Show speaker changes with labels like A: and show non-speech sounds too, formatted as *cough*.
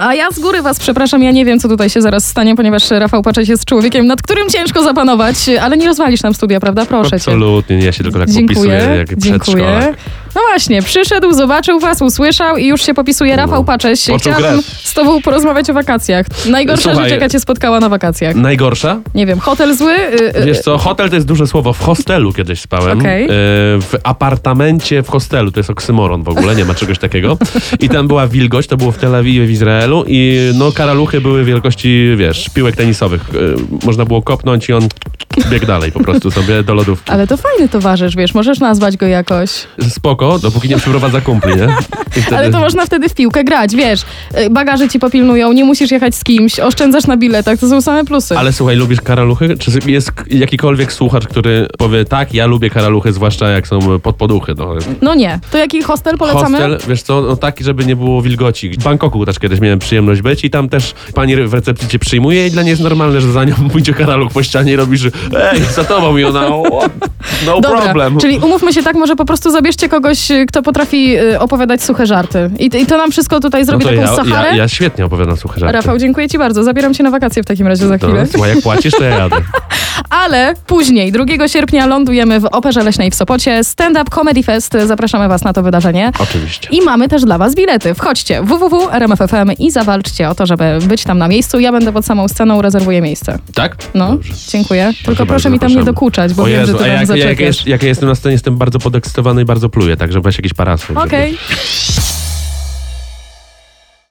A: A ja z góry was przepraszam, ja nie wiem, co tutaj się zaraz stanie, ponieważ Rafał Paczeć jest człowiekiem, nad którym ciężko zapanować, ale nie rozwalisz nam studia, prawda? Proszę cię.
B: Absolutnie, ja się tylko tak popisuję
A: Dziękuję,
B: jak
A: dziękuję.
B: przedszkolak.
A: No właśnie, przyszedł, zobaczył was, usłyszał i już się popisuje Rafał Paczeć.
B: Poczuł
A: Chciałabym
B: krew.
A: z tobą porozmawiać o wakacjach. Najgorsza
B: Słuchaj.
A: rzecz, jaka cię spotkała na wakacjach.
B: Najgorsza?
A: Nie wiem, hotel zły? Y, y,
B: Wiesz co, hotel to jest duże słowo. W hostelu kiedyś spałem.
A: Okej.
B: E, W apartamencie w hostelu, to jest oksymoron w ogóle, nie ma czegoś takiego. I tam była wilgoć, to było w Tel Awiwie w Izraelu i no karaluchy były wielkości, wiesz, piłek tenisowych. E, Można było kopnąć i on biegł dalej po prostu sobie do lodówki.
A: Ale to fajny towarzysz, wiesz, możesz nazwać go jakoś.
B: Spoko, dopóki nie przyprowadza kumpli, nie? I wtedy-
A: Ale to można wtedy w piłkę grać, wiesz. Y, Bagaże ci popilnują, nie musisz jechać z kimś, oszczędzasz na biletach, to są same plusy.
B: Ale słuchaj, lubisz karaluchy? Czy jest k- jakikolwiek słuchacz, który powie tak, ja lubię karaluchy, zwłaszcza jak są podpoduchy. No.
A: No nie. To jaki hostel polecamy?
B: Hostel, wiesz co, no taki, żeby nie było wilgoci. W Bangkoku też kiedyś miałem przyjemność być i tam też pani w recepcji cię przyjmuje i dla niej jest normalne, że za nią *laughs* pójdzie karaluch po ścianie i robisz ej, za tobą i ona o, no
A: Dobra,
B: problem.
A: czyli umówmy się tak, może po prostu zabierzcie kogoś, y, kto potrafi y, opowiadać suche żarty. I, I to nam wszystko tutaj
B: no
A: zrobi
B: to
A: taką
B: ja,
A: Saharę.
B: ja, ja świetnie opowiadam słuchaj żarty.
A: Rafał, dziękuję ci bardzo. Zabieram cię na wakacje w takim razie za
B: no,
A: chwilę.
B: słuchaj, jak płacisz, to ja
A: *laughs*
B: jadę.
A: Ale później, 2 sierpnia lądujemy w Operze Leśnej w Sopocie. Stand-up Comedy Fest. Zapraszamy was na to wydarzenie.
B: Oczywiście.
A: I mamy też dla Was bilety. Wchodźcie www.rmf.fm i zawalczcie o to, żeby być tam na miejscu. Ja będę pod samą sceną, rezerwuję miejsce.
B: Tak?
A: No,
B: Dobrze.
A: dziękuję. Tylko proszę,
B: bardzo,
A: mi tam nie
B: zapraszamy.
A: dokuczać, bo
B: o
A: wiem,
B: Jezu,
A: że
B: a
A: ty tam
B: jak, jak,
A: zaczepiasz.
B: jest, jak ja jestem na scenie, jestem bardzo podekscytowany i bardzo pluję, także weź jakiś parasol. żeby-
A: Okej.